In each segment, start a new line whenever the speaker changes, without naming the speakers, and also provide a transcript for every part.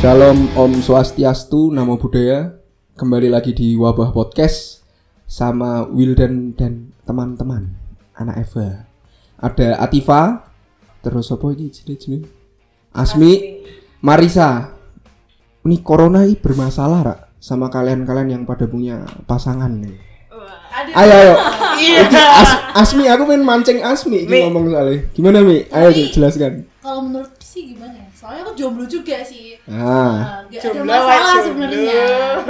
Shalom Om Swastiastu, Namo Buddhaya. Kembali lagi di Wabah Podcast sama Wildan dan teman-teman anak Eva. Ada Atifa, terus apa ini jenis-jenis? Asmi, Marisa. Ini corona ini bermasalah rak sama kalian-kalian yang pada punya pasangan nih. Ayo ayo. Iki As- Asmi aku main mancing Asmi iki ngomong soalnya. Gimana Mi? Ayo
Mi.
Cuk, jelaskan.
kalau menurutku sih gimana ya soalnya aku jomblo juga sih
Ah,
Nah, gak ada
Jomblo,
masalah
jomblo.
sebenarnya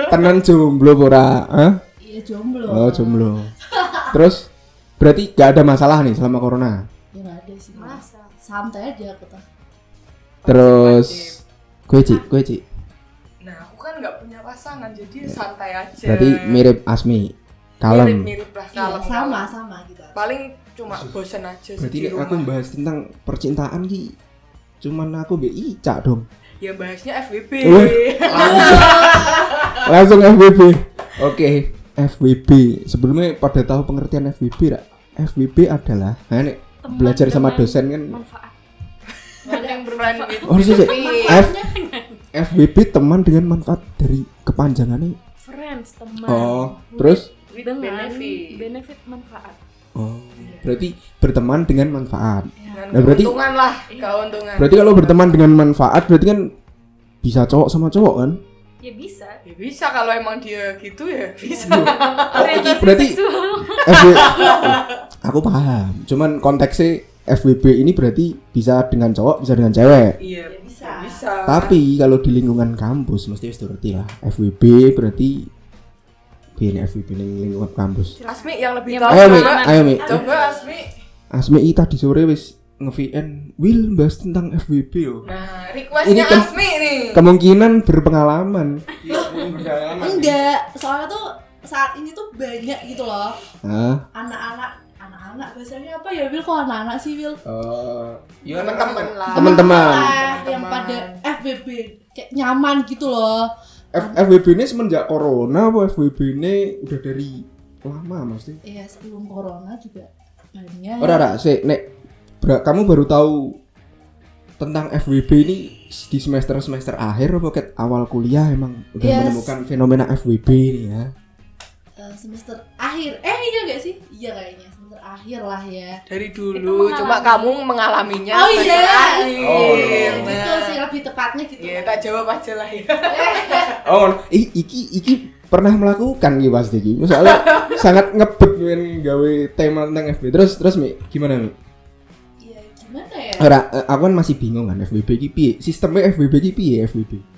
tenan jomblo ora? Hah?
iya jomblo
Oh jomblo. Terus berarti gak ada masalah nih selama corona.
ya gak ada sih masa santai aja aku tuh
Terus gue cik, gue cik.
Nah, aku kan nggak punya pasangan,
Iya.
jadi santai aja.
Berarti mirip Asmi, kalem.
Mirip-mirip lah
iya
kalem.
sama sama gitu
Paling cuma bosen aja sih
Berarti
di
nek
rumah.
aku bahas tentang percintaan ki. Cuman aku be Ica dong.
Ya bahasnya FWB.
Wih. Langsung FWB. Oke, FWB. Sebelumnya pada tahu pengertian FWB rak? FWB adalah nah, nek belajar sama dosen kan.
Ada
Iya.
yang bermain gitu.
Oh, sih, sih. F FWB teman dengan manfaat dari kepanjangannya.
friends
Nah,
teman
Oh, terus
With dengan
benefit.
benefit. manfaat
Oh, berarti berteman dengan manfaat.
Dengan
Nah, berarti-
keuntungan lah,
Iya.
keuntungan.
Berarti kalau berteman dengan manfaat berarti kan bisa cowok sama cowok kan?
ya bisa
Ya bisa kalau emang dia gitu ya bisa.
Oh, ini berarti FW Aku paham. Cuman konteksnya FWB ini berarti bisa dengan cowok, bisa dengan cewek.
Iya,
Ya, bisa.
Bisa.
Tapi kalau di lingkungan kampus mesti wis ngerti lah. FWB berarti biyen FWB ning lingkungan kampus.
Asmi yang lebih
Ya,
tahu
Ayo Mi,
coba.
ayo Mi.
Coba Asmi.
Asmi i tadi sore wis nge-VN Will bahas tentang FWB yo.
Nah,
Ini
requestnya
kem-
Asmi nih.
Kemungkinan berpengalaman.
enggak soalnya tuh saat ini tuh banyak gitu loh
Ah.
anak-anak anak-anak biasanya apa ya Wil kok anak-anak sih Wil
Eh, ya
Teman-teman lah.
teman-teman
Ah, yang
Teman-teman.
pada FBB kayak nyaman gitu loh
F- FWB ini semenjak corona apa FWB ini udah dari lama mesti
iya sebelum corona juga banyak
ora ora sik nek Bra- kamu baru tahu tentang FWB ini di semester semester akhir apa ket awal kuliah emang udah
Yes.
menemukan fenomena FWB ini ya
Eh, semester akhir eh iya gak sih iya kayaknya semester akhir lah ya
Dari
Itu
dulu,
mengalami.
cuma kamu mengalaminya.
Oh,
sebagai
iya.
ahli.
Oh, iya.
Iya, gitu
Nah.
sih lebih tepatnya gitu
Ya, tak jawab aja lah ya.
oh I, iki iki pernah melakukan gitu pasti gitu soalnya sangat ngebet men gawe tema tentang FWB terus terus mi gimana mi
ya gimana ya
ora eh, aku kan masih bingung kan FWB iki piye sistemnya FWB iki piye FWB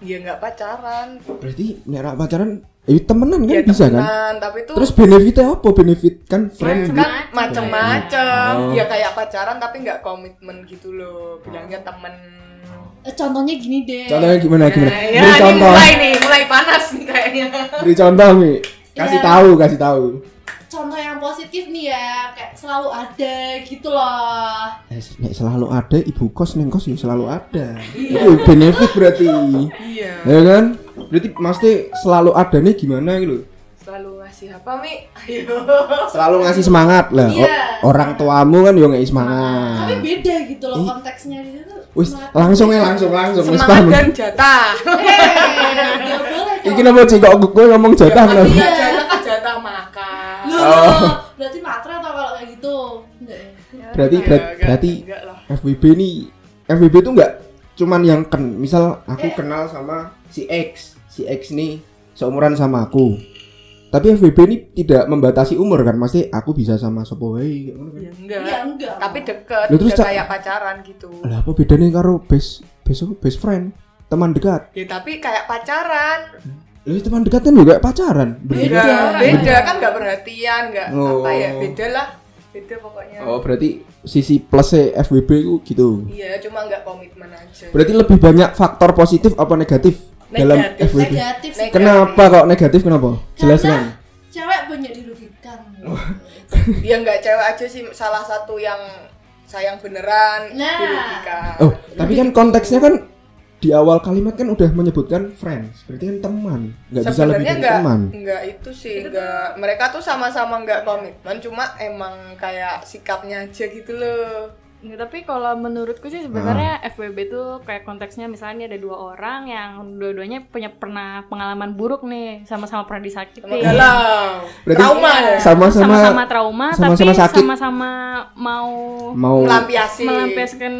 Ya nggak pacaran.
Berarti nek rak pacaran eh temenan kan
Ya
bisa kan?
temenan, tapi tuh
Terus benefitnya apa? Benefit kan friend
kan
group.
macem-macem.
Oh.
Ya kayak pacaran tapi nggak komitmen gitu loh. Bilangnya temen.
Eh, contohnya gini deh
Contohnya gimana Oh, gimana?
Nah, ya
Beri
ini
contoh.
mulai nih, mulai panas nih kayaknya.
Beri contoh Mi. Kasih
Ya.
tahu, kasih tahu.
contoh yang positif nih ya kayak selalu ada gitu loh
Eh, nek selalu ada ibu kos neng kos ya selalu ada. Itu benefit berarti.
Iya.
ya kan? Berarti mesti selalu ada nih gimana gitu.
Selalu ngasih apa, Mi? Ayo.
Selalu ngasih semangat lah. O-
Iya.
Orang tuamu kan yo ngasih
tapi
semangat.
beda gitu loh
Ih.
konteksnya di situ
Wis
Semangat.
langsung ya langsung langsung wis
Semangat
paham.
dan jatah.
eh nggak boleh dong.
Iki napa sih kok gue ngomong jatah
Ya,
kenapa?
Iya.
Jatah kan jatah makan.
Loh,
Oh.
berarti matra atau kalau kayak gitu enggak ya
Berarti
Ya,
berat-
enggak-
berarti
enggak lah.
FWB ini FWB tuh nggak cuman yang ken misal aku kenal sama si X si X nih seumuran sama aku tapi FWB ini tidak membatasi umur kan Maksudnya aku bisa sama sopo wae kayak ngono kan.
Ya, enggak.
iya enggak
Tapi deket,
Loh, terus
udah
ca-
kayak pacaran gitu.
lah apa bedanya karo best best apa? best friend teman dekat
Ya tapi kayak pacaran.
lu teman dekat kan juga pacaran Bener.
beda
Beda.
beda kan nggak perhatian nggak
Oh.
apa ya beda lah beda pokoknya
oh berarti sisi plusnya FWB itu gitu
iya cuma nggak komitmen aja
berarti lebih banyak faktor positif apa negatif, dalam
Negatif.
FWB
negatif sih
Neg-
kenapa kok negatif kenapa jelaskan
karena cewek banyak dirugikan
ya nggak cewek aja sih salah satu yang sayang beneran
Nah.
dirugikan
Oh, tapi kan konteksnya kan di awal kalimat kan udah menyebutkan friends, berarti kan teman, nggak bisa lebih
sebenarnya
dari
nggak
teman.
nggak itu sih nggak mereka tuh sama-sama nggak komitmen cuma emang kayak sikapnya aja gitu loh
Nggak, tapi kalau menurutku
Ah.
sih sebenarnya FWB itu kayak konteksnya misalnya ada dua orang yang dua-duanya punya pernah pengalaman buruk nih sama-sama pernah disakiti
Sama galau.
Berarti
Trauma. ya.
sama-sama
sama-sama trauma
sama-sama
tapi
sakit.
sama-sama mau
mau
Melampiasi.
melampiaskan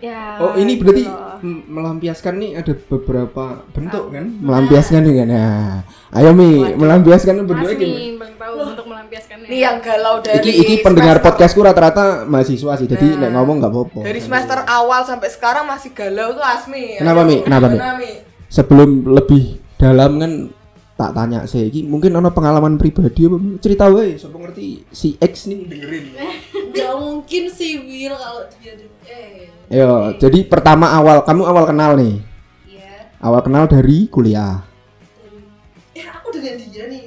ya
Oh ini berarti
gitu loh.
m- melampiaskan nih ada beberapa bentuk kan?
Ah.
Melampiaskan juga nah. Ayo Mi, melampiaskan
Mas
bentuknya gimana?
nih belum tahu untuk melampiaskannya
Ini yang galau dari Nah.
Iki iki pendengar
semester-
podcastku rata-rata mahasiswa sih. Jadi nek ngomong nggak apa-apa. Kan?
Dari semester awal sampai sekarang masih galau tuh Asmi.
Kenapa, Mi? Kenapa, Mi?
Kenapa, Mi?
Sebelum lebih dalam kan tak tanya saya iki mungkin ono pengalaman pribadi apa Mi? cerita wae sapa ngerti si X nih dengerin.
Gak mungkin sih Will kalau dia di- eh
Yo, jadi pertama awal kamu awal kenal nih.
ya
Awal kenal dari kuliah.
eh aku dengan dia nih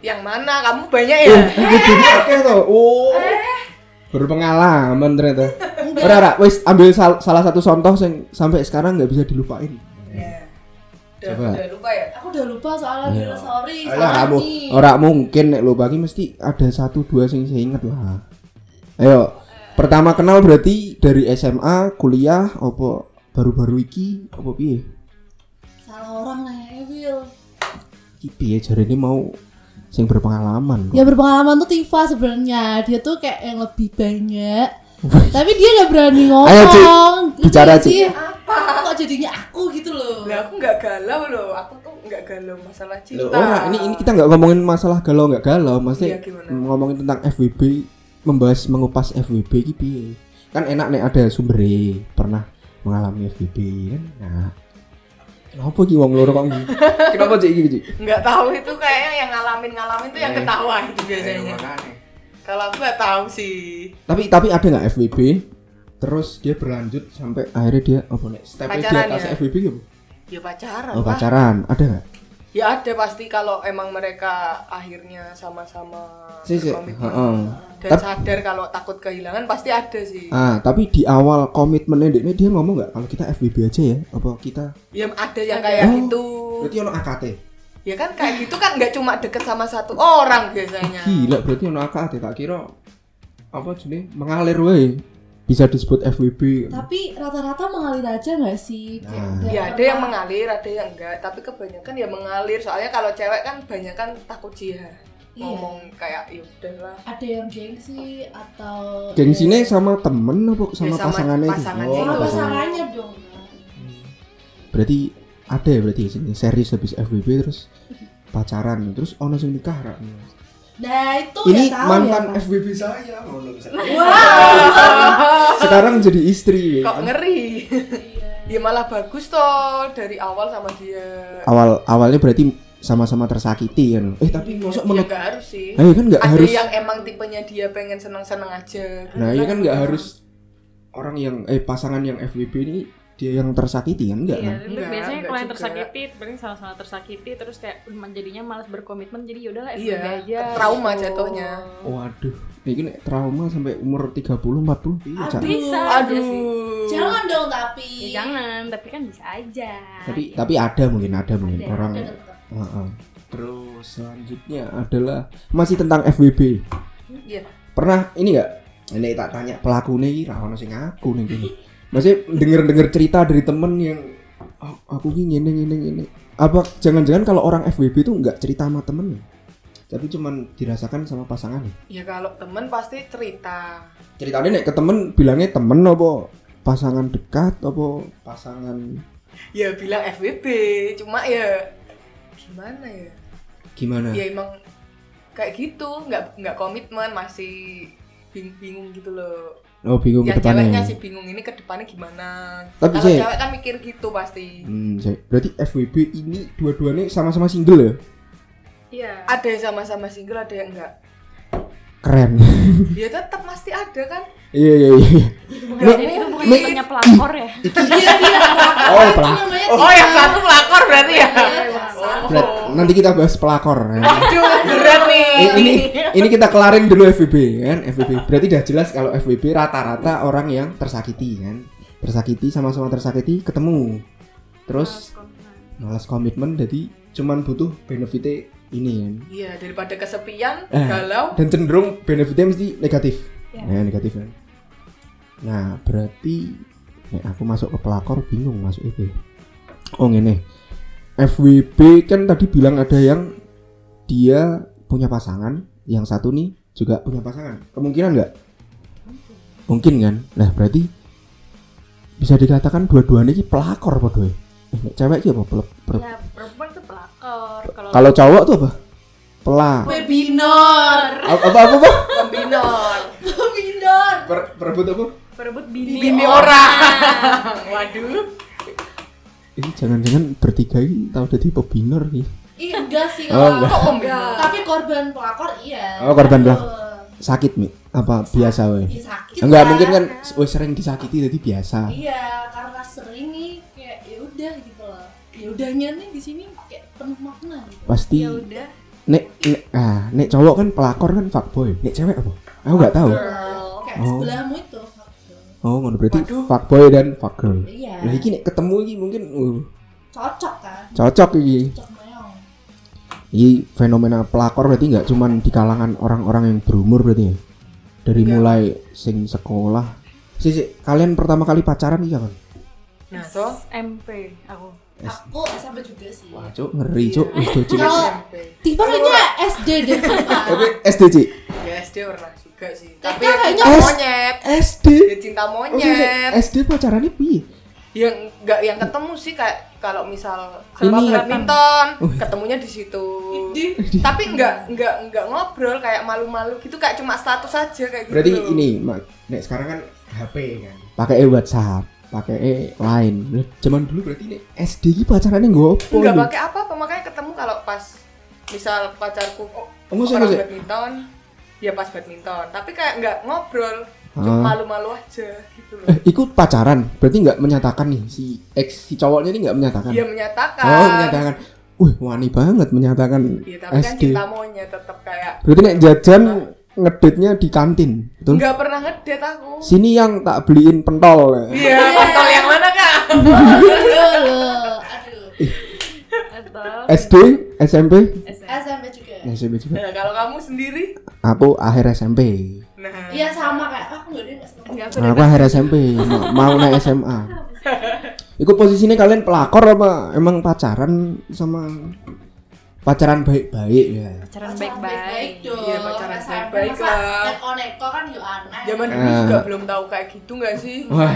Yang mana? Kamu banyak ya?
Aku dulu akeh to. Oh. Berpengalaman ternyata. Ora ora, wis ambil sal- salah satu contoh sing sampai sekarang nggak bisa dilupain.
Udah,
Coba.
udah lupa ya?
aku udah lupa soalnya
Iya.
Will sorry
Alah kamu ora mungkin nek lupa iki mesti ada satu dua sing saya inget lah. Ayo, pertama kenal berarti dari SMA, kuliah, opo baru-baru iki, opo piye?
salah orang lah ya Will
Iki piye jarene mau sing berpengalaman.
ya berpengalaman tuh Tifa sebenarnya dia tuh kayak yang lebih banyak tapi dia gak berani ngomong
Ayo, Ci.
Ngerti
Bicara,
gak
Ci.
sih? apa kok jadinya aku gitu loh
Lah aku nggak galau loh. Aku tuh nggak galau masalah cinta.
Loh, ora, ini ini kita nggak ngomongin masalah galau nggak galau, maksudnya
Iya, gimana?
ngomongin tentang FWB, membahas mengupas FWB iki piye. Kan enak nek ada sumbernya pernah mengalami FWB kan. Nah. Kenapa iki wong loro kok ngene? Kenapa cek iki, Cik?
nggak tahu itu kayaknya yang ngalamin ngalamin tuh yang
Eh.
ketawa itu biasanya. Kalau aku nggak tahu sih.
Tapi tapi ada nggak FWB? Terus dia berlanjut sampai akhirnya dia apa nek step di
Pacaran
atas
ya?
FWB ya? Bu?
Ya pacaran.
Oh,
lah.
pacaran, ada nggak?
Ya ada pasti kalau emang mereka akhirnya sama-sama
Sih, sih.
berkomitmen.
Heeh.
dan
Tap-
sadar kalau takut kehilangan pasti ada sih.
Ah, tapi di awal komitmennya dia dia ngomong nggak kalau kita FWB aja ya? Apa kita
Ya ada yang kayak
Oh.
gitu.
berarti ono AKT?
Ya kan kayak gitu kan nggak cuma deket sama satu orang biasanya.
Gila berarti ono akad tak kira apa jenis mengalir wae bisa disebut FWB.
tapi rata-rata mengalir aja gak sih Kayak
Nah.
udah
Ya ada yang mengalir, ada yang enggak. Tapi kebanyakan ya mengalir. Soalnya kalau cewek kan banyak kan takut jihad.
Iya.
Ngomong kayak ya udahlah.
ada yang gengsi atau
Gengsinya sama temen apa sama,
Ya, sama
pasangannya? itu?
pasangannya gitu.
Oh,
sama
itu.
pasangan.
pasangannya dong
Berarti ada ya berarti sini serius habis FWB terus pacaran terus ono sing nikah ra?
nah itu
Ini
ya tahu
mantan
ya, Pak.
FWB saya. ngono misalnya.
Ah,
Sekarang jadi istri. ya kan?
Kok ngeri.
Iya.
ya malah bagus toh dari awal sama dia.
Awal awalnya berarti sama-sama tersakiti kan. Eh tapi
Ya,
masuk
ya
menurut
nggak harus sih.
Nah, iya kan nggak
ada
harus.
yang emang tipenya dia pengen senang-senang aja.
Nah, iya kan nggak harus orang yang eh pasangan yang FWB ini dia yang tersakiti kan enggak
Iya,
kan?
tapi
Enggak,
biasanya
enggak
kalau yang
juga.
tersakiti, paling sama-sama tersakiti, terus kayak jadinya malas berkomitmen, jadi ya yaudahlah FWB
Iya,
aja.
trauma
gitu.
jatuhnya.
Waduh, ini nek trauma sampai umur 30 40 piye, iya, Cak?
Aduh.
Bisa
iya
aja sih.
Aduh.
jangan dong tapi
Ya, jangan, tapi kan bisa aja.
Tapi tapi ada mungkin ada mungkin
Ada,
orang.
Ada tetap.
Heeh. Terus selanjutnya adalah masih tentang FWB.
Iya.
Pernah ini enggak? Ini tak tanya pelaku nih, ra ono sing ngaku nih gini. Masih denger-denger cerita dari temen yang "Oh, aku ini ngene ngene ngene. Apa jangan-jangan kalau orang FWB itu enggak cerita sama temennya? Tapi cuman dirasakan sama pasangannya.
Ya kalau temen pasti cerita.
Ceritanya nek ke temen bilangnya temen apa pasangan dekat apa pasangan
Ya bilang FWB, cuma ya gimana ya?
gimana?
ya emang kayak gitu nggak nggak komitmen masih bing- bingung gitu loh
Oh bingung
yang
ke depannya.
ceweknya sih bingung ini ke depannya gimana
Tapi
kalau
sih-
cewek kan mikir gitu pasti
Hmm, saya- berarti FWB ini dua-duanya sama-sama single ya?
Iya.
ada yang sama-sama single ada yang enggak
Keren.
ya tetap pasti ada kan
Iya iya iya.
Jadi itu bukan
Mi-
hanya pelakor ya.
Iya, iya.
Oh,
Itu
pelak.
namanya
oh yang satu pelakor berarti ya
Pelakor.
Berat.
Oh.
Nanti kita bahas pelakor. ya.
aduh berat nih
Eh, ini ini kita kelarin dulu FWB kan FWB berarti udah jelas kalau FWB rata-rata orang yang tersakiti kan tersakiti sama-sama tersakiti ketemu terus malas komitmen jadi cuman butuh benefitnya ini kan
iya daripada kesepian
Eh.
galau
dan cenderung benefitnya mesti negatif
Iya.
nah, negatif kan Nah, berarti nek aku masuk ke pelakor bingung masuk itu. Oh, ngene. FWB kan tadi bilang ada yang dia punya pasangan, yang satu nih juga punya pasangan. Kemungkinan nggak? Mungkin kan? Nah, berarti bisa dikatakan dua-duanya ini pelakor apa dua? Eh, nek cewek iki apa? Pel- pel-
ya perempuan tuh pelakor kalau
Kalau cowok tuh apa? Pelak.
Webinar.
Apa apa apa? apa?
Kombinor.
Webinar.
Per- perebut apa?
perebut bini,
Bini Waduh.
Ini jangan-jangan bertiga ini tahu jadi pebiner nih.
Ih, Iya, enggak sih.
Oh,
lah.
enggak.
Kok kombinor?
Tapi korban pelakor iya.
Oh, korban
Betul.
Sakit mi? Apa biasa weh?
Iya, sakit.
Enggak
lah.
mungkin kan wes sering disakiti jadi biasa.
Iya, karena sering nih kayak ya udah gitu loh. Ya udahnya nih di sini kayak penuh makna gitu.
Pasti
ya udah
nek, nek ah nek cowok kan pelakor kan fuckboy. Nek cewek apa? Aku nggak tahu.
Girl, Kayak
Iya. Oh.
sebelahmu itu.
Oh, ngono berarti
Waduh.
fuckboy dan fuckgirl.
Iya.
Nah, iki nek ketemu iki mungkin uh,
Cocok kan?
cocok iki.
Cocok meong.
Iki fenomena pelakor berarti nggak cuman di kalangan orang-orang yang berumur berarti ya. Dari mulai sing sekolah. Si, si, kalian pertama kali pacaran iya kan?
Nah, so
SMP aku
Aku SMP juga sih.
Wah, cuk, Iya. ngeri cuk. Wis dojo.
Kalau tipe kayaknya SD deh.
Tapi SD, Cik.
ya SD pernah juga sih.
TK
Tapi ya
kayaknya
cinta
S.
monyet.
SD.
Ya cinta
Oh, si, si,
monyet.
SD pacarannya piye?
Yang enggak yang ketemu sih kayak kalau misal
Ini- ya. Oh, iya.
sepak badminton, ketemunya di situ. Tapi enggak enggak enggak ngobrol kayak malu-malu gitu kayak cuma status aja kayak gitu.
Berarti
loh.
ini, Mak. Nek sekarang kan HP kan. Pakai WhatsApp, pakai e Line. Lah, Zaman dulu berarti nek SD iki pacarannya nggo opo?
enggak
lho?
pakai apa-apa makanya ketemu kalau pas misal pacarku oh,
Enggak sih,
orang
enggak sih.
badminton ya pas badminton tapi kayak nggak ngobrol
Ah.
cuma malu-malu aja gitu loh
Eh, ikut pacaran. Berarti nggak menyatakan nih si ex si cowoknya ini nggak menyatakan.
dia Ya menyatakan
Oh, menyatakan. Wih, wani banget menyatakan
ya tapi kan
SD.
cinta monyet tetap kayak
Berarti nek jajan ngeditnya di kantin, betul?
nggak pernah ngedet aku
Sini yang tak beliin pentol.
iya kontol yang mana kak
Aduh, loh. aduh.
Eh.
atau
SD, SMP,
SMP juga.
SMP juga.
nah, kalau kamu sendiri
Aku akhir SMP.
nah
Iya sama kayak aku nggak ada nggak sama.
enggak aku
Nah, aku akhir SMP ma- mau naik SMA. Iku posisinya kalian pelakor apa emang pacaran sama pacaran baik-baik ya?
pacaran
Pacaran
baik-baik
dong.
Iya, pacaran
SMP,
baik-baik
masa
lah.
Neko-neko kan yo aneh.
zaman dulu
Ah.
juga belum tahu kayak gitu nggak sih
Wah,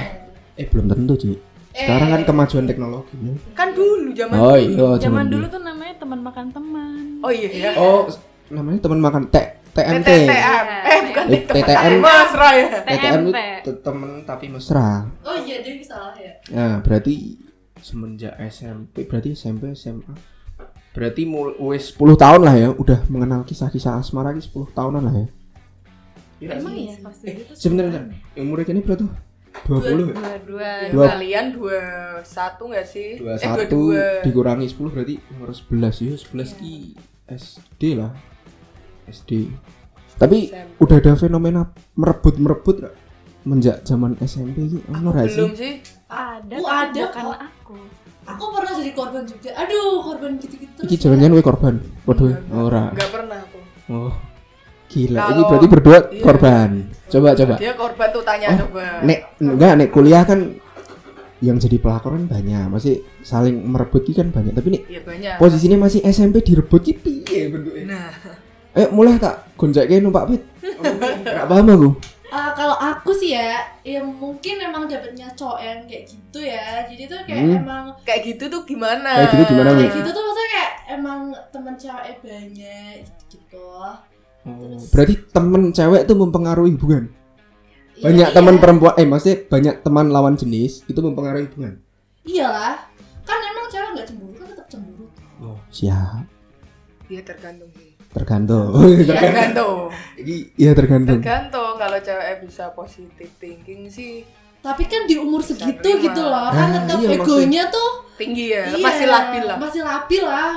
eh belum tentu sih. Sekarang kan kemajuan teknologi. ya.
kan dulu zaman
Oh iya,
Eh. zaman dulu tuh namanya teman makan teman
oh iya ya
Oh, s- namanya teman makan T TMT.
TTM eh bukan
Eh, TTM.
Mesra ya
TTM
TMT.
itu temen tapi mesra.
Oh iya dia salah ya.
Nah, berarti semenjak SMP, berarti SMP SMA berarti mul wis 10 tahun lah ya udah mengenal kisah-kisah asmara ini 10 tahunan lah ya. Iya
emang ya pasti gitu
Sebenarnya umurnya kini berapa tuh? 20 ya?
dua-dua
Dua-
kalian dua satu nggak sih eh dua Iya.
21 dikurangi 10 berarti umur 11 ya 11 ki SD lah SD tapi udah ada fenomena merebut-merebut nggak? menjak zaman SMP ini ono nggak sih?
belum sih
ada
Oh,
tapi
ada
bukan
kok.
aku
Aku pernah jadi korban juga. Aduh, korban gitu-gitu. ya.
Iki jangan-jangan we korban. Waduh, ora.
nggak pernah aku
Oh. Gila,
Kalau-
ini berarti berdua
iya.
korban. Coba coba.
dia korban tuh tanya
Oh,
coba
Nek enggak nek kuliah kan yang jadi pelakor kan banyak, masih saling merebut ki kan banyak. Tapi nek
iya banyak
posisinya masih SMP direbut ki piye bentuknya?
nah
Eh, mulai tak gonjake numpak pit. Enggak paham aku.
Ah, kalau aku sih ya, ya mungkin emang dapetnya cowok yang kayak gitu ya. Jadi tuh kayak
Hmm.
emang
kayak gitu tuh gimana
Kayak gitu gimana, Mi?
kayak gitu tuh maksudnya kayak emang temen cewek banyak gitu.
Berarti temen cewek itu mempengaruhi hubungan.
Iya,
Banyak
iya.
teman perempuan, eh maksudnya banyak teman lawan jenis itu mempengaruhi hubungan.
Iyalah. Kan emang cewek nggak cemburu kan tetap cemburu.
Oh, siap.
iya tergantung sih
Tergantung. tergantung.
tergantung
Iki- Iya tergantung.
tergantung kalau cewek bisa positive thinking sih
Tapi kan di umur segitu
terima.
gitu loh,
Ah,
kan tetap
iya,
egonya tuh
tinggi ya
iya,
masih labil lah
Masih labil lah,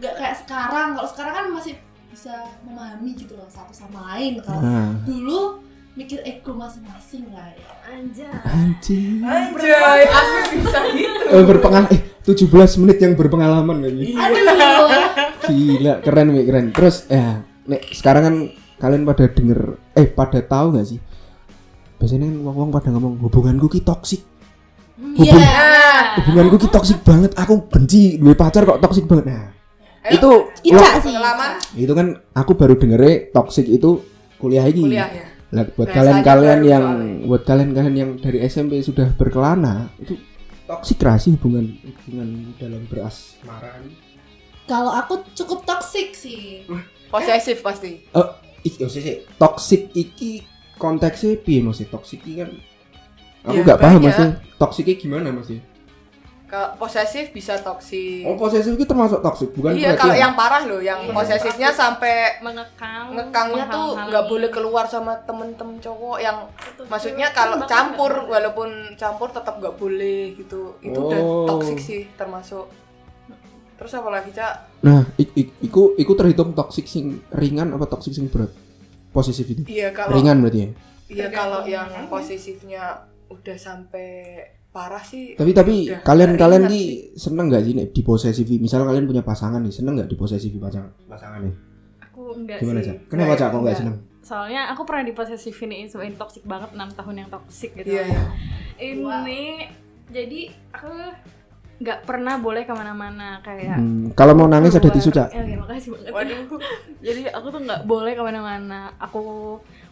nggak kayak sekarang. Kalau sekarang kan masih bisa memahami gitu loh satu sama lain. Kalau
Nah,
dulu mikir ego masing-masing lah ya.
anjay
anjing.
anjay aku bisa gitu
eh, berpengalaman eh 17 menit yang berpengalaman kayaknya.
Iya. Aduh,
Gila, keren Wi, keren. Terus ya, nek sekarang kan kalian pada denger eh pada tahu nggak sih biasanya kan wong-wong pada ngomong hubunganku ki toksik
Iya.
Hubung-
Nah,
hubunganku ki toksik banget aku benci duwe pacar kok toksik banget nah
Ayo.
itu
Ica sih.
pengalaman
itu kan aku baru dengernya toksik itu kuliah ini
kuliahnya.
Lah, buat
Bahasa
kalian-kalian
aja
yang
baru
buat kalian-kalian yang dari SMP sudah berkelana itu toksik gak sih hubungan hubungan dalam berasmara
Kalau aku cukup toksik sih.
Posesif pasti.
iki yo sik sik. toxic iki konteksnya piye Mas? Toxic iki kan aku
Ya,
nggak paham
banyak.
Mas. Toksiknya gimana Mas?
Kalau posesif bisa toksik.
Oh, posesif itu termasuk toksik, bukan ya?
iya,
pelecehan.
kalau yang parah loh, yang
Iya.
posesifnya sampai
mengekang
ngekangnya tuh
menghalang-halangi.
nggak boleh keluar sama temen-temen cowok yang
Betul.
maksudnya
Itu
kalau
Iya, bahkan
campur
nggak boleh.
walaupun campur tetap nggak boleh gitu itu udah
Oh.
toksik sih termasuk terus apa lagi cak
Nah, ik- ik- iku iku terhitung toksik sing ringan apa toksik sing berat? Posesif itu.
iya kalau
Ringan berarti ya.
iya
Tergantung
kalau yang
orangnya.
posesifnya udah sampai parah sih
Tapi tapi
Udah,
kalian-kalian
ringan
ki seneng nggak sih nek diposesifi? Misal kalian punya pasangan nih, seneng nggak diposesifi pasangan pasangan nih?
aku enggak
Gimana,
sih
Cak? Kenapa, Cak, kok nggak
Enggak.
seneng?
soalnya aku pernah diposesifin itu yang toksik banget 6 tahun yang toksik gitu
iya iya
ini jadi aku nggak pernah boleh kemana-mana kayak
Hmm, kalau mau nangis ada
keluar.
tisu, Cak.
Ya, oke, makasih banget.
waduh
Jadi aku tuh nggak boleh kemana-mana. Aku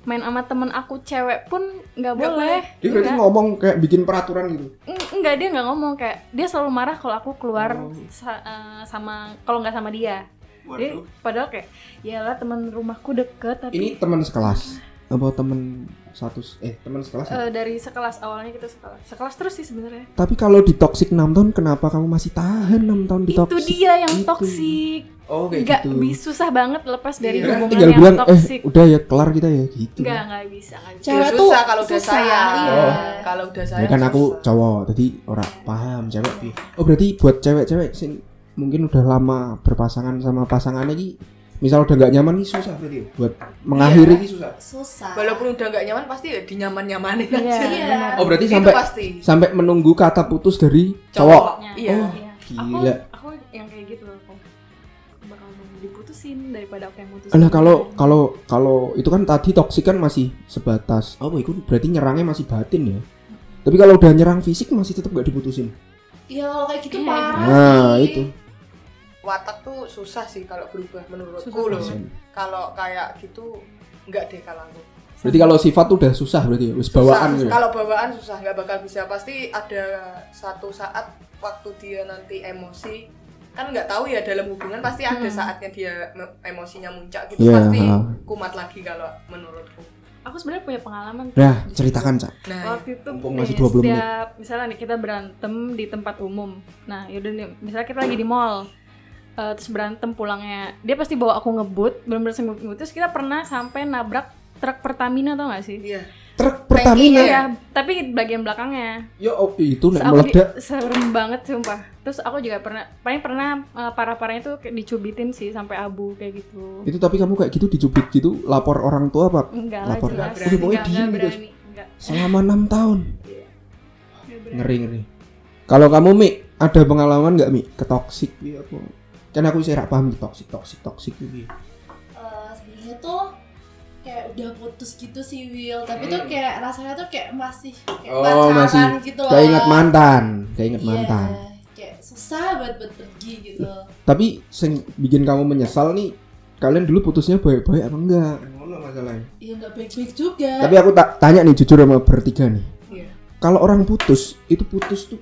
main sama temen aku cewek pun nggak
Nggak
boleh.
Dia berarti
Nggak.
ngomong kayak bikin peraturan gitu.
Eng- Enggak dia nggak ngomong kayak dia selalu marah kalau aku keluar
Oh.
sa- eh, sama kalau nggak sama dia. Jadi, Eh, padahal kayak ya lah teman rumahku
Ini
deket tapi
teman sekelas apa teman satu eh teman sekelas ya?
eh, dari sekelas awalnya kita sekelas. Sekelas terus sih sebenarnya.
Tapi kalau di toxic 6 tahun, kenapa kamu masih tahan 6 tahun di
Itu
toxic?
dia yang
Itu.
toksik.
Oh, kayak
Nggak
gitu.
bisa susah banget lepas dari
Iya.
Kan
hubungan
tinggal
yang
bilang,
toksik.
eh udah ya kelar kita ya gitu.
Nggak, nggak bisa, nggak
Ya,
bisa.
Cewek tuh
susah kalau udah
susah,
sayang
iya.
Oh.
kalau udah sayang
Ya kan aku
susah.
cowok, tadi orang paham cewek. piye. Oh berarti buat cewek-cewek sing mungkin udah lama berpasangan sama pasangannya ki misal udah nggak nyaman nih susah berarti ya? buat mengakhiri ki susah.
Susah.
walaupun udah nggak nyaman pasti ya dinyaman-nyamanin
Iya,
aja
Iya.
benar.
Oh berarti
itu
sampai
pasti
sampai menunggu kata putus dari cowok.
cowoknya iya
Oh.
Iya.
Gila.
Aku, aku yang kayak gitu aku bakal nunggu diputusin daripada aku yang mutusin.
Alah kalau kalau kalau itu kan tadi toksik kan masih sebatas oh itu berarti nyerangnya masih batin ya. Tapi kalau udah nyerang fisik masih tetap gak diputusin.
Iya kalau kayak gitu
Iya,
parah.
Nah,
sih.
itu.
watak tuh susah sih kalau berubah menurutku
Susah
loh
banget.
kalau kayak gitu nggak deh kalau aku
Berarti kalau sifat udah susah berarti ya, wis bawaan
Susah,
gitu.
kalau bawaan susah nggak bakal bisa pasti ada satu saat waktu dia nanti emosi kan nggak tahu ya dalam hubungan pasti ada saatnya dia me- emosinya muncak gitu
Iya.
pasti kumat lagi kalau menurutku
aku sebenarnya punya pengalaman. tuh
Nah,
di situ.
ceritakan, Cak.
nah
Waktu itu
Mumpung
nih,
masih 20 menit.
setiap misalnya nih kita berantem di tempat umum. Nah, yaudah nih, misalnya kita lagi di mall. eh, terus berantem pulangnya. Dia pasti bawa aku ngebut, benar-benar sambil ngebut. Terus kita pernah sampai nabrak truk Pertamina tau gak sih?
iya
Truk Pertamina.
Iya.
Iya, tapi bagian belakangnya.
Ya oh, itu
Terus
nek
aku di-
meledak.
serem banget sumpah. Terus aku juga pernah paling pernah eh, parah-parahnya tuh kayak dicubitin sih sampai abu kayak gitu.
Itu tapi kamu kayak gitu dicubit gitu, lapor orang tua apa?
Enggak lah
Lapor.
jelas.
Udah,
pokoknya
Enggak,
diem
enggak
gitu.
berani. Enggak.
Selama enam tahun.
enggak berani.
Ngeri ngeri. Kalau kamu Mi, ada pengalaman nggak Mi ketoksik Iya, apa? Kan aku sih rak paham toksik toksik toksik gitu.
Eh, sebenarnya tuh kayak udah putus gitu sih Will
Hmm.
tapi tuh kayak rasanya tuh kayak masih kayak pacaran gitu loh
Kayak ingat Oh, mantan, kayak ingat
Iya,
mantan. Iya.
kayak susah buat buat pergi gitu
Tapi sing bikin kamu menyesal nih, kalian dulu putusnya baik-baik apa enggak? Ngono masalahnya.
ya nggak baik baik juga
Tapi aku tak tanya nih jujur sama bertiga nih.
Iya.
Kalau orang putus, itu putus tuh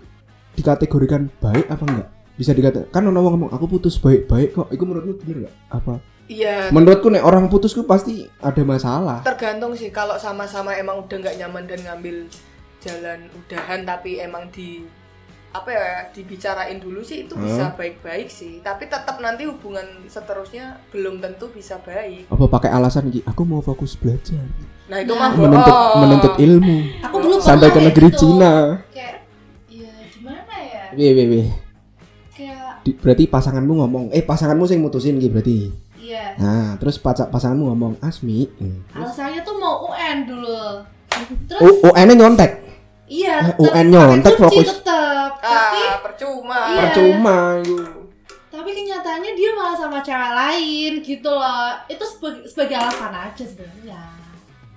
dikategorikan baik apa enggak? Bisa dikatakan kan orang ngomong aku putus baik-baik kok. Itu menurutmu bener nggak? Apa?
iya
Menurutku nih orang putus tuh pasti ada masalah.
tergantung sih kalau sama-sama emang udah nggak nyaman dan ngambil jalan udahan tapi emang di apa ya dibicarain dulu sih itu
Hmm.
bisa baik-baik sih tapi tetap nanti hubungan seterusnya belum tentu bisa baik
Apa pakai alasan gitu? Aku mau fokus belajar,
nah itu
Nah.
mah
menuntut
bohong.
menuntut ilmu
aku dulu
sampai ke
pernah kayak
negeri
gitu.
Cina.
kayak ya gimana ya
Weh, weh, weh.
kayak
Di- Berarti pasanganmu ngomong, eh pasanganmu sih yang mutusin gitu berarti.
iya
Nah, terus pacar pasanganmu ngomong Asmi. hmm.
alasannya tuh mau UN dulu terus
U- UN-nya nyontek. Eh,
iya
UN nyontek,
tetep kunci
fokus.
tetep tapi
ah percuma
Iya.
Percuma. yuk.
tapi kenyataannya dia malah sama cewek lain gitu loh itu sebagai, sebagai alasan aja sebenarnya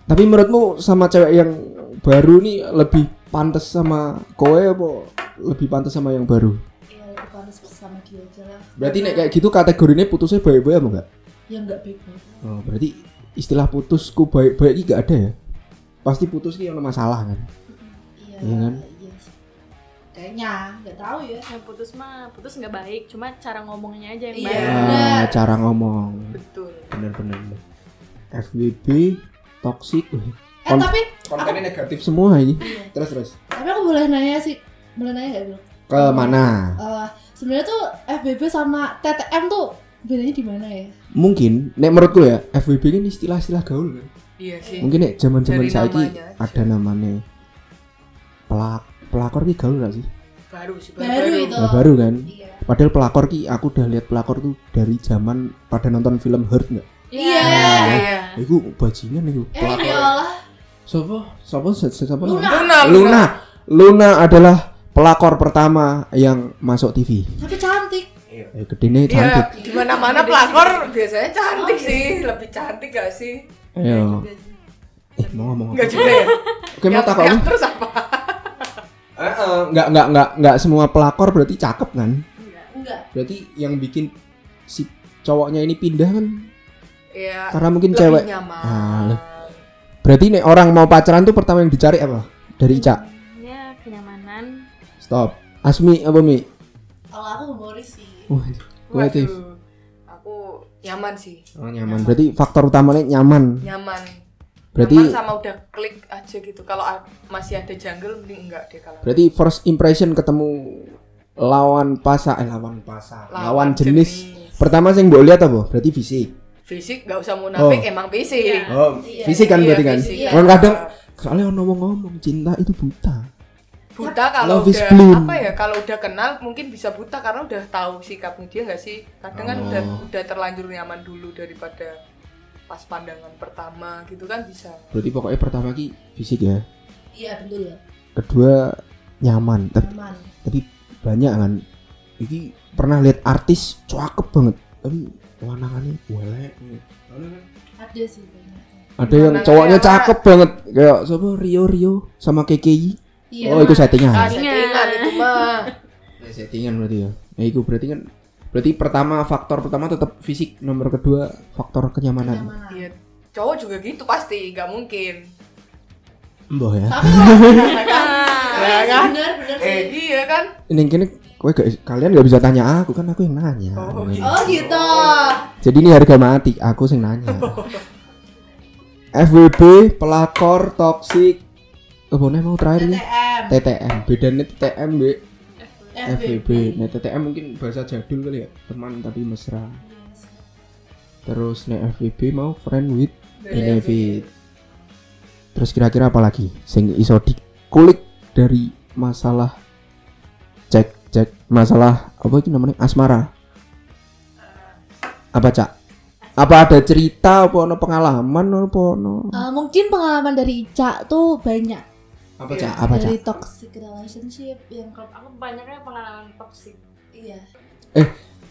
Tapi menurutmu sama cewek yang baru nih lebih pantas sama kowe apa lebih pantas sama yang baru?
ya lebih pantas bersama dia aja lah
Berarti nek kayak gitu kategorinya putusnya baik-baik apa enggak?
ya nggak baik banget
Oh, berarti istilah putusku baik-baik ini enggak ada ya? Pasti putus ini ada masalah kan?
iya
Iya kan?
iya sih. kayaknya nggak tahu ya
yang putus mah putus nggak baik cuma cara ngomongnya aja yang
Iya.
baik
Ah,
Bener.
cara ngomong.
betul
Bener-bener. FBB toxic. Wih,
eh
Kon-
tapi
Kontennya negatif semua ini.
iya.
Terus terus.
tapi aku boleh nanya sih boleh nanya nggak Bil?
Ke mana?
Eh, sebenarnya tuh FBB sama TTM tuh bedanya di mana ya
Mungkin nek menurutku ya, FBB ini istilah-istilah gaul kan.
iya sih
Mungkin nek zaman-zaman
Dari
saiki
namanya aja.
ada namanya pelak pelakor ki gaul gak sih?
baru sih
baru itu
Nah, baru kan.
iya
Padahal pelakor ki aku udah lihat pelakor tuh dari zaman pada nonton film Hurt nggak?
Iya.
Iya.
Iku bajingan iku
eh ya
pelakor.
Allah
Sopo? Sopo? Se- se- Sopo?
Luna.
Luna
Luna. Luna adalah pelakor pertama yang masuk TV.
tapi cantik
Eh, gedene
Iya, Oh,
cantik.
di mana-mana pelakor biasanya cantik sih, lebih cantik gak sih?
Ayo. Eh, mau ngomong.
Enggak juga ya?
Oke, mau
Yang
takut
teriak terus apa?
Heeh, enggak enggak enggak enggak semua pelakor berarti cakep kan?
enggak
Berarti yang bikin si cowoknya ini pindah kan
Iya,
karena mungkin
lebih
cewek.
nyaman.
Ah, le- Berarti nih orang mau pacaran tuh pertama yang dicari apa? Dari Ica.
ya kenyamanan
Stop. Asmi apa Mi?
kalau aku humoris sih
Wah, kreatif.
Waduh, aku nyaman sih,
Oh, nyaman. Berarti faktor utamanya nyaman.
nyaman.
Berarti
Nyaman sama udah klik aja gitu. Kalau a- masih ada jungle mending enggak deh kalau.
berarti first impression ketemu lawan pasa eh lawan pasa lawan,
Lawan
jenis.
jenis.
pertama sih yang boleh lihat apa berarti fisik
Fisik nggak usah munafik,
Oh.
emang fisik.
oh
Iya.
fisik kan
Nah, Iya,
berarti kan
fisik.
Kan kadang soalnya orang ngomong-ngomong cinta itu buta
buta kalau
Love is
udah
blind.
apa ya kalau udah kenal mungkin bisa buta karena udah tahu sikapnya dia nggak sih kadang kan
Oh.
udah udah terlanjur nyaman dulu daripada pas pandangan pertama gitu kan bisa
berarti pokoknya pertama ki fisik ya
iya betul ya
kedua nyaman tapi
aman
tapi banyak kan ini pernah lihat artis cakep banget tapi wanangannya welek
ada sih banyak
ada yang
Wanangannya
cowoknya
apa?
cakep banget kayak siapa Rio Rio sama KKI
iya
oh itu settingan
ah, settingan itu mah
Ya, settingan berarti ya ya itu berarti kan berarti pertama faktor pertama tetap fisik nomor kedua faktor kenyamanan
Kenyamanan.
Iya, cowok juga gitu pasti nggak mungkin
mbah ya
tapi kalau
Eh.
Iya,
Ya kan?
bener bener
eh,
sih
iya kan
ini kini kowe gak- kalian gak bisa tanya aku kan aku yang nanya
Oh,
Ini.
oh gitu
Jadi ini harga mati, aku sing nanya. FWB, pelakor, toksik, apa nih mau terakhir ya?
TTM
TTM, bedanya TTM B, FWB.
FBB
Nah TTM mungkin bahasa jadul kali ya, teman tapi mesra. Terus nih FWB mau friend with
Iya,
benefit. Terus kira-kira apa lagi? Sing iso dikulik dari masalah cek cek masalah apa itu namanya asmara. Apa cak? Apa ada cerita apa ono pengalaman apa ono?
Eh, mungkin pengalaman dari Ica tuh banyak
Apa cak? Apa cak?
dari toxic relationship yang kalau
aku banyaknya pengalaman toksik
iya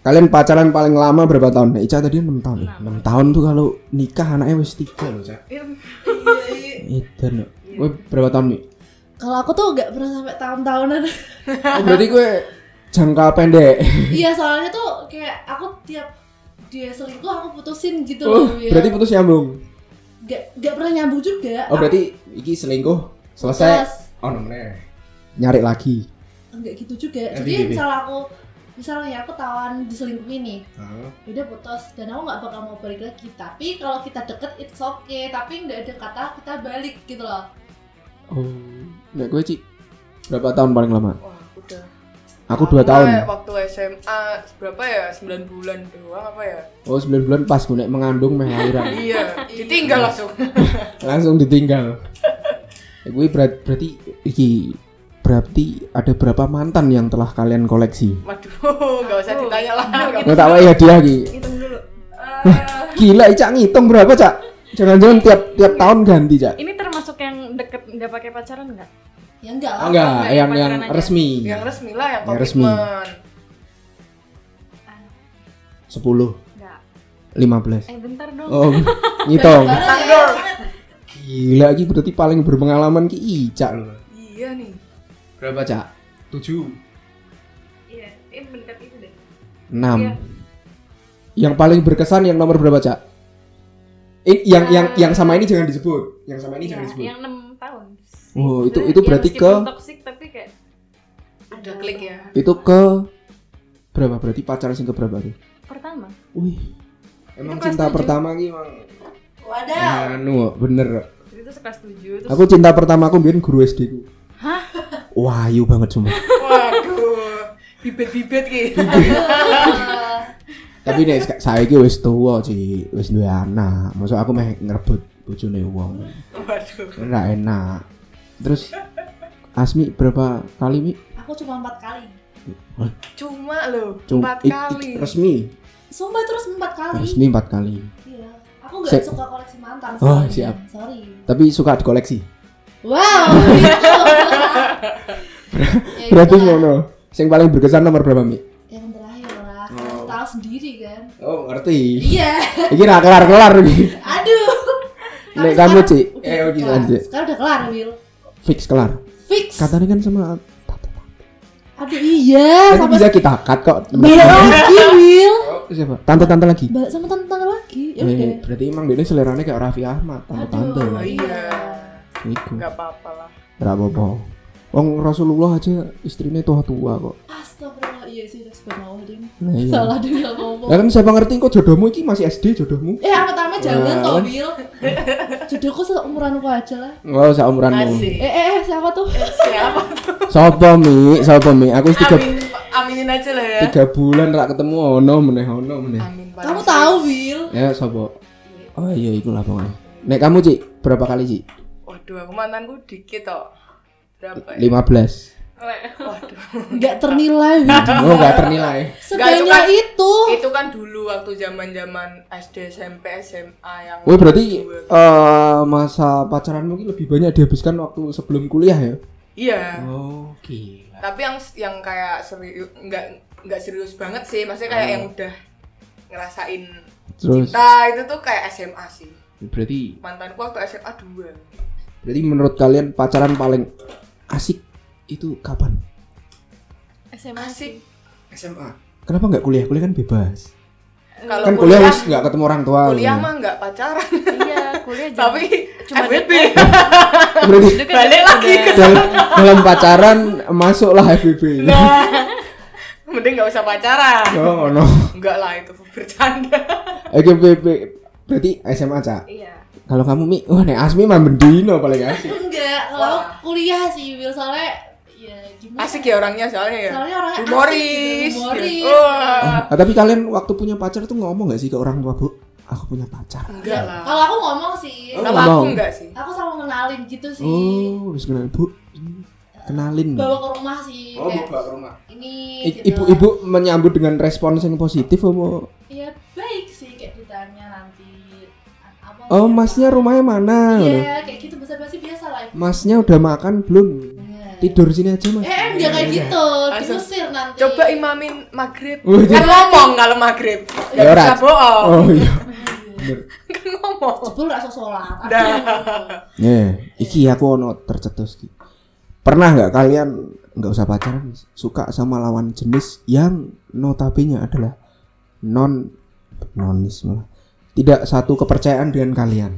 Kalian pacaran paling lama berapa tahun? Nah, Ica tadi 6 tahun.
Enam.
6 tahun tuh kalau nikah anaknya wis 3 loh, Cak.
Iya,
Edan. loh. Kowe berapa tahun nih?
kalau aku tuh nggak pernah sampai tahun-tahunan
Oh, berarti gue jangka pendek.
iya soalnya tuh kayak aku tiap dia selingkuh aku putusin gitu
Oh,
loh ya.
berarti putus nyambung.
nggak nggak pernah nyambung juga
Oh berarti iki selingkuh selesai. Oh nomornya. Nyari lagi.
nggak gitu juga
Eh,
jadi
bi- bi-
misal aku misalnya ya, aku tawan diselingkuhin nih udah putus dan aku nggak bakal mau balik lagi tapi kalau kita deket it's okay tapi nggak ada kata kita balik gitu loh
Oh. Nek gue Ci, berapa tahun paling lama?
wah udah
Aku dua
Lama ya,
tahun.
waktu SMA berapa ya 9 bulan doang apa ya
Oh 9 bulan pas gue nek mengandung meh lahiran.
iya ditinggal langsung
Langsung ditinggal. Nek Gue berat- berarti iki berarti ada berapa mantan yang telah kalian koleksi?
waduh nggak usah ditanya lah Eh,
Nggak tak wae hadiah iki.
hitung dulu
Gila, Cak ngitung berapa, Cak? Jangan-jangan tiap tiap tahun ganti, Cak.
ini termasuk yang deket nggak pakai pacaran nggak
ya enggak lah
Ah, enggak, yang yang
pacaran aja.
resmi.
yang resmi lah yang
Iya. Yang resmi.
komitmen
10,
nggak
15.
eh bentar dong Eh,
Oh, ngitung.
Banyak banget ya.
Gila iki berarti paling berpengalaman ki Ica loh.
iya nih
Berapa, Cak? 7,
Iya, ini mendekat itu deh.
6.
Iya.
Yang paling berkesan yang nomor berapa, Cak? Eh, yang yang yang sama ini jangan disebut. Yang sama ini
Nah. Iya,
jangan disebut.
yang 6 tahun.
Oh, itu-
Sebenarnya
itu
ya
berarti
meskipun
ke-
toxic tapi kayak
udah klik ya
Itu ke berapa? Berarti pacar sing ke berapa tuh?
pertama.
Wih. Emang
Itu kelas
cinta
tujuh. Iya.
pertama ki emang
Wadah.
anu bener.
Itu sekelas 7 terus
Aku cinta pertama aku biyen guru SD ku. Hah? Wah, ayu banget sumpah.
waduh bibit-bibit gitu
Eh,
Tapi nek saiki wis tuwa, Ci. Wis duwe anak. Masuk aku meh ngerebut bojone wong.
waduh
Enggak enak. Terus Asmi berapa kali Mi?
aku cuma empat kali.
cuma lo
Cum-
empat
i- i-
kali
resmi.
Sumpah terus empat kali.
Resmi empat kali.
Iya. Aku nggak
Se-
suka koleksi mantan.
Oh,
soalnya.
siap.
Sorry.
Tapi suka dikoleksi.
Wow. Ya,
Berarti
itulah.
ngono. Yang paling berkesan nomor berapa Mi?
yang terakhir lah
Oh.
Kamu tahu sendiri kan
Oh, ngerti.
iya
Iki ra kelar-kelar iki.
aduh
Nek
Kan
kamu,
sekarang
Ci.
udah
Eh, oke,
kelar.
lanjut.
sekarang udah kelar Will
Fix kelar.
fix
Katanya kan sama
aduh
Nanti Eh,
iya sama Iya.
bisa kita cut kok.
beda lagi Will
Siapa? Tante-tante lagi.
Ba- sama tante-tante lagi ya udah
Eh, berarti emang dia selerane kayak Raffi Ahmad,
oh,
tante-tante.
iya
Iku.
nggak apa-apa lah
Ora apa-apa. Wong Rasulullah aja istrinya tua-tua kok.
astagfirullah iya sih terus mau ding
Nah, iya.
salah deh kalau
Lah
ngomong
kan siapa ngerti kok jodohmu iki masih SD jodohmu?
eh amat-amat jangan
Wah,
toh
kan.
Will jodohku seumuranku aja lah
Oh, sak umuranmu.
asik
eh eh eh, siapa tuh
siapa
Sopo Mi? Sopo Mi? Aku wis tiga,
amin aminin aja lah ya
tiga bulan rak ketemu ono meneh ono meneh.
amin Pak.
kamu tahu Will
Ya sopo? Oh iya iku lah pokoknya. Nek kamu Ci, berapa kali Ci?
waduh aku mantanku dikit toh berapa ya?
15.
waduh
nggak ternilai Will.
Oh, enggak ternilai.
sebanyak
itu
itu
itu kan dulu waktu zaman zaman SD SMP SMA yang
Woi, berarti eh, masa pacaran mungkin lebih banyak dihabiskan waktu sebelum kuliah ya?
iya
Oh, gila.
tapi yang yang kayak serius nggak nggak serius banget sih maksudnya kayak
Hmm.
yang udah ngerasain
Terus
cinta itu tuh kayak SMA sih
berarti
mantanku waktu SMA dua
berarti menurut kalian pacaran paling asik itu kapan?
SMA sih.
asik
SMA. Kenapa nggak kuliah? Kuliah kan bebas.
kalau
kan kuliah
kuliah
harus nggak ketemu orang tua.
kuliah
gitu.
mah nggak pacaran
iya, kuliah juga.
tapi
Cuma
FWB
Berarti
Itu kan
Balik
udah-
lagi ke
dalam, dalam pacaran masuklah FBB.
Iya.
mending nggak usah pacaran
Oh no.
enggak lah itu bercanda
FBB berarti SMA cak.
Iya.
Kalau kamu mi, wah nek Asmi mah mendino paling asik.
Enggak, kalau
Wah.
kuliah sih Will soalnya ya gimana?
asik ya orangnya soalnya ya
Soalnya orangnya asik
humoris
gitu, humoris.
Wah.
Ah, tapi kalian waktu punya pacar tuh ngomong nggak sih ke orang tua bu? Aku punya pacar.
enggak
Iya.
lah
Kalau aku ngomong sih,
Oh.
kalau aku
ngomong.
enggak sih
aku selalu ngenalin gitu sih.
Oh, harus kenalin bu. Kenalin.
Bawa ke rumah sih kayak
Oh, ke rumah.
ini gitu.
Ibu-ibu menyambut dengan respons yang positif apa?
Ya baik sih kayak ditanya nanti apa
Oh, masnya rumahnya mana?
Iya, kayak gitu basa-basi biasa lah. Ibu.
Masnya udah makan belum?
Iya.
Tidur sini aja mas.
Eh, eh, enggak kayak gitu,
Langsung.
diusir nanti.
coba imamin maghrib
Wih,
kan ngomong kalau maghrib
Ya,
nggak
ora.
bisa bohong
Oh iya. Bener.
kan ngomong
Jebul rasa sholat.
Dah.
Nih, iki aku ono tercetus iki. Pernah nggak kalian nggak usah pacaran suka sama lawan jenis yang notabene adalah non nonis malah tidak satu kepercayaan dengan kalian.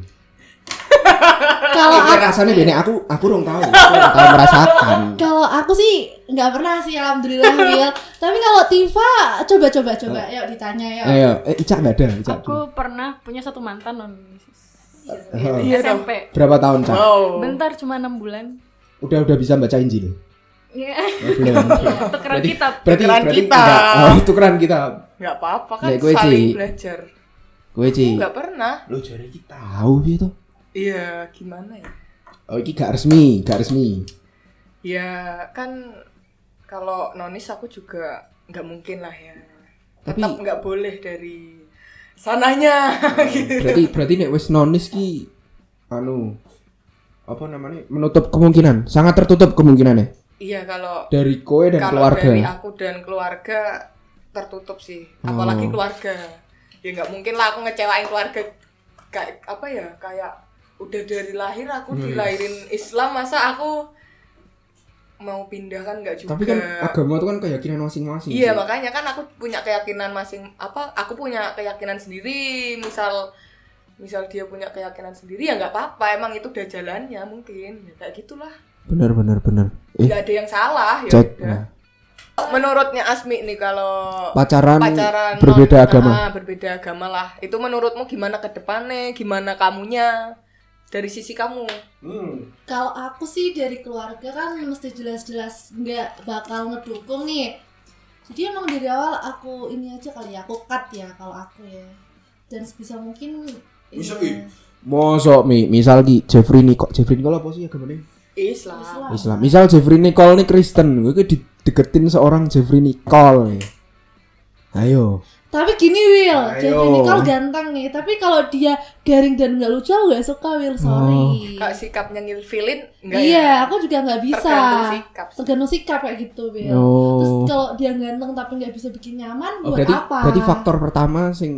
Kalau
Ini rasanya bene aku aku rong tahu, aku rong tahu merasakan.
Kalau aku sih nggak pernah sih alhamdulillah Will. Tapi kalau Tifa coba-coba coba yuk ditanya yuk.
Ayo, eh Ica nggak ada, Ica. dulu.
Aku pernah punya satu mantan non
Oh.
Iya dong.
SMP.
Berapa tahun, Cak?
wow
Bentar cuma 6 bulan.
Udah udah bisa baca Injil.
Iya,
Oh, belum.
tukeran
Berarti-
kitab.
Berarti
Tukeran
berarti
kita.
enggak. Oh, tukeran kita.
nggak apa-apa kan
Nek gue,
saling
Ci.
belajar
Kowe, Ci.
nggak pernah
Lu jare iki tahu piye to?
iya gimana ya
Oh, iki gak resmi, gak resmi.
ya kan kalau nonis aku juga nggak mungkin lah ya
Tapi-
tetap nggak boleh dari sananya gitu
berarti berarti nek wis nonis ki anu apa namanya menutup kemungkinan sangat tertutup kemungkinannya
iya kalau
dari kowe dan
kalau
keluarga
dari aku dan keluarga tertutup sih apalagi
Oh.
keluarga ya nggak mungkin lah aku ngecewain keluarga kayak apa ya kayak udah dari lahir aku
Hmm.
dilahirin Islam masa aku mau pindah kan nggak juga
Tapi kan agama itu kan keyakinan masing-masing.
Iya
sih.
makanya kan aku punya keyakinan masing apa aku punya keyakinan sendiri misal misal dia punya keyakinan sendiri ya nggak apa-apa emang itu udah jalannya mungkin ya, kayak gitulah
Bener bener bener. Eh,
nggak ada yang salah ya
cek.
udah.
Nah,
menurutnya Asmi nih kalau
pacaran,
pacaran
berbeda
non-
agama.
Ah, berbeda agama lah itu menurutmu gimana ke depannya gimana kamunya dari sisi kamu
Kalau aku sih dari keluarga kan mesti jelas-jelas nggak bakal ngedukung nih. Jadi emang dari awal aku ini aja kali ya, aku cut ya kalau aku ya. Dan sebisa mungkin ini
Bisa,
ya,
Mosok mi, misal ki Jeffrey Nicole, Jeffrey Nicole apa sih agamanya?
Islam,
Islam.
Islam. Misal Jeffrey Nicole nih Kristen, gue dideketin seorang Jeffrey Nicole. nih. Ayo.
Tapi gini Will,
Ayo.
jadi Nicole ganteng nih. Tapi kalau dia garing dan nggak lucu aku nggak suka Will, sorry.
Kak, sikapnya ngilfilin enggak ya?
Iya, aku juga nggak bisa.
tergantung sikap sih.
Tergantung sikap kayak gitu Will. Terus
Oh.
kalau dia ganteng tapi nggak bisa bikin nyaman
Oh,
buat
berarti,
apa?
berarti faktor pertama sing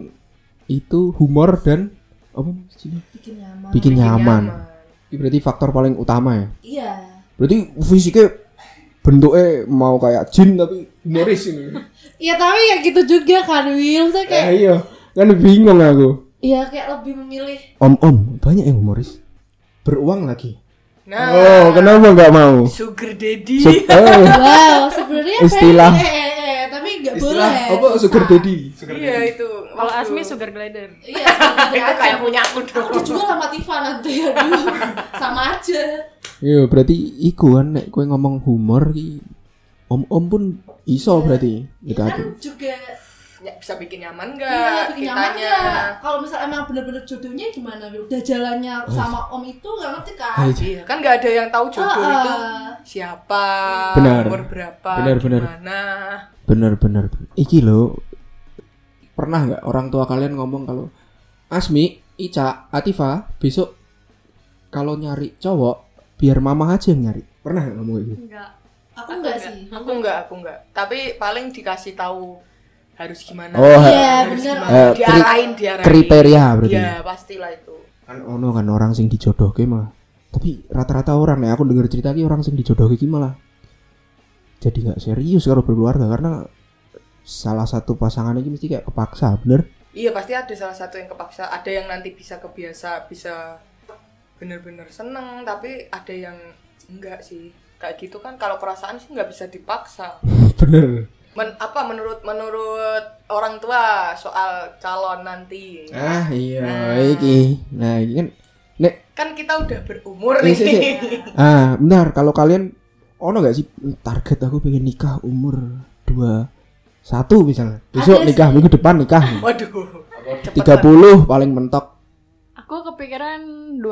itu humor dan apa Mas Cina?
Ah, bikin nyaman.
Bikin nyaman.
Nyaman.
Ini berarti faktor paling utama ya.
Iya.
Berarti fisiknya bentuknya mau kayak jin tapi humoris ini.
Iya tapi ya gitu juga kan Will Saya kayak
Eh, iya, kan bingung aku.
ya kayak lebih memilih
Om om banyak yang humoris. Beruang lagi.
Nah,
Oh kenapa nggak mau?
sugar
Iya.
daddy.
Sup- eh,
Wow sebenarnya pengen-
Istilah.
eh, eh, eh, Tapi nggak boleh
istilah apa sugar daddy?
Iya itu.
Kalau
Waktu-
Asmi sugar glider.
Iya sebenarnya
itu kayak punya aku
Aku
dong.
dijual sama Tifa nanti aduh Sama aja
Iya berarti iku kan nek kowe ngomong humor ki om om pun iso berarti
Ya
dekati.
kan juga
Ya, bisa bikin nyaman
Iya
enggak?
bikin nyaman nggak? Kalau misal emang bener-bener jodohnya gimana Will Udah jalannya sama om itu nggak ngerti kan
Oh. Hai,
Iya, kan nggak ada yang tahu jodoh
Ah,
itu
ah.
siapa,
Benar.
umur berapa,
Benar, benar.
gimana.
Bener bener. Iki lo pernah nggak orang tua kalian ngomong kalau Asmi, Ica, Atifa besok kalau nyari cowok biar mama aja yang nyari. Pernah nggak ngomong gitu?
Enggak.
Aku nggak sih
Aku enggak, aku enggak. Tapi paling dikasih tahu harus gimana.
Oh, ha-
Iya
harus
bener
gimana.
Eh, kri-
diarahin, diarahin.
Kriteria berarti. ya?
Iya, pastilah itu.
kan ono kan orang sing dijodohke malah tapi rata-rata orang ya aku denger cerita ki orang sing dijodohke ki malah jadi nggak serius kalau berkeluarga karena salah satu pasangan ini mesti kayak kepaksa bener
Iya, pasti ada salah satu yang kepaksa, ada yang nanti bisa kebiasa, bisa bener-bener seneng, tapi ada yang enggak sih. Kayak gitu kan kalau perasaan sih nggak bisa dipaksa.
bener
Men- apa menurut menurut orang tua soal calon nanti
ah iya
Nah.
iki nah iki kan nek
kan kita udah berumur
Iya, iya,
nih
ah benar kalau kalian ono nggak sih target aku pengen nikah umur dua satu misalnya besok
Ada
nikah
sih.
minggu depan nikah
waduh cepet
30 paling mentok
Aku kepikiran 26.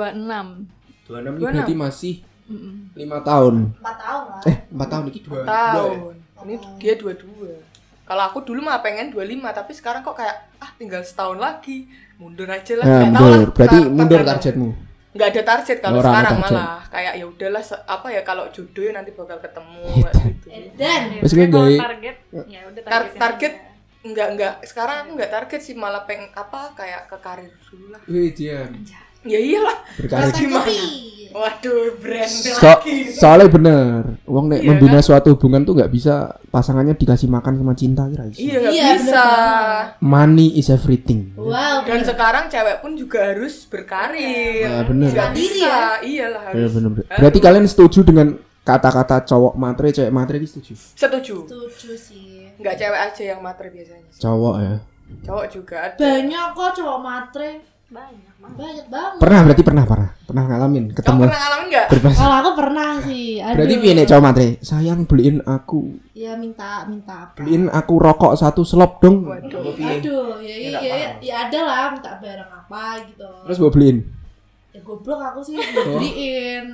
26
ini berarti
masih
Mm-mm.
lima tahun
Empat tahun lah
eh empat tahun iki dua dua ya?
tahun ini dia dua dua kalau aku dulu mah pengen 25 tapi sekarang kok kayak ah tinggal setahun lagi mundur aja lah
Nah,
Nggak tahu
mundur.
lah,
Berarti
tar-
mundur
tar-
targetmu.
nggak ada target kalau
Nggak ada
sekarang
target.
malah kayak ya udahlah se- apa ya kalau jodoh ya nanti bakal ketemu
Iya.
kayak gitu
Eh, Dan
Ya,
Maksudnya
sebenarnya kalau
gaya-
target, ya udah
Tar-
targetin
target.
aja.
nggak nggak sekarang aku nggak target sih malah pengen apa kayak ke karir dulu lah
Wih, dia
ya iyalah
berkarir.
Rasanya
gimana?
kopi.
waduh brand
So-
lagi
soalnya bener, uang nek
Iya
membina suatu hubungan tuh nggak bisa pasangannya dikasih makan sama cinta kira
Iya nggak
Iya, bener
bisa.
banget.
Money is everything.
Wow,
Dan
bener.
sekarang cewek pun juga harus berkarir.
Nah, bener. Iya,
Nggak
Mandiri
bisa.
ya.
Iyalah harus.
Bener, bener. Berarti kalian setuju dengan kata-kata cowok matre, cewek matre ini setuju?
Setuju.
Setuju sih.
Nggak cewek aja yang matre biasanya.
Cowok ya.
Cowok juga ada.
Banyak kok cowok matre,
Banyak banget.
banyak banget.
Pernah berarti pernah pernah pernah ngalamin
Kamu
ketemu
pernah ngalamin nggak?
berpasangan.
Kalau aku pernah sih. Aduh.
Berarti piye nek cowok matre? Sayang beliin aku
Ya minta, minta apa?
beliin aku rokok satu slop dong. Apa
Waduh.
piye?
Aduh, ya iya
nggak
ya, ya,
paham.
ada lah minta barang apa gitu.
Terus gue beliin.
Ya goblok aku sih nggak beliin.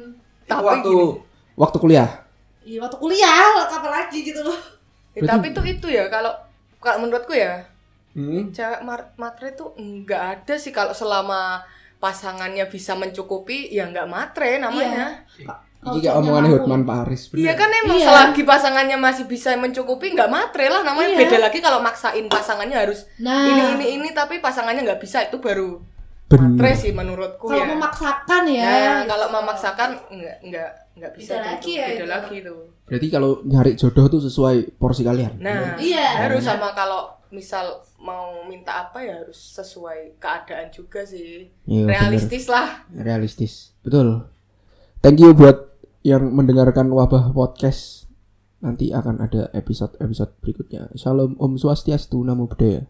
Tapi
waktu
gini.
waktu kuliah.
Iya waktu kuliah, kapan lagi gitu loh.
Ya,
Berarti-
tapi itu itu ya kalau kalau menurutku ya
Hmm.
cewek mar- matre tuh nggak ada sih kalau selama pasangannya bisa mencukupi ya nggak matre namanya.
Kalau
Iki kayak
cowoknya
omongannya
mampu.
Hotman Paris.
Oh, Iya kan emang
Iya.
selagi pasangannya masih bisa mencukupi nggak matre lah namanya.
Iya.
Beda lagi kalau maksain pasangannya harus
Nah,
ini ini ini tapi pasangannya nggak bisa itu baru
Bener.
matre sih menurutku
kalau
ya.
memaksakan ya
Nah,
gitu.
kalau memaksakan nggak nggak nggak bisa
Beda
tuh,
lagi ya
beda
itu.
lagi tuh.
Berarti kalau nyari jodoh tuh sesuai porsi kalian.
Nah,
Iya.
harus sama kalau misal mau minta apa ya harus sesuai keadaan juga sih.
Iya, bener.
Realistis lah.
realistis. Betul. Thank you buat yang mendengarkan wabah podcast. Nanti akan ada episode-episode berikutnya. Shalom Om Swastiastu, Namo Buddhaya.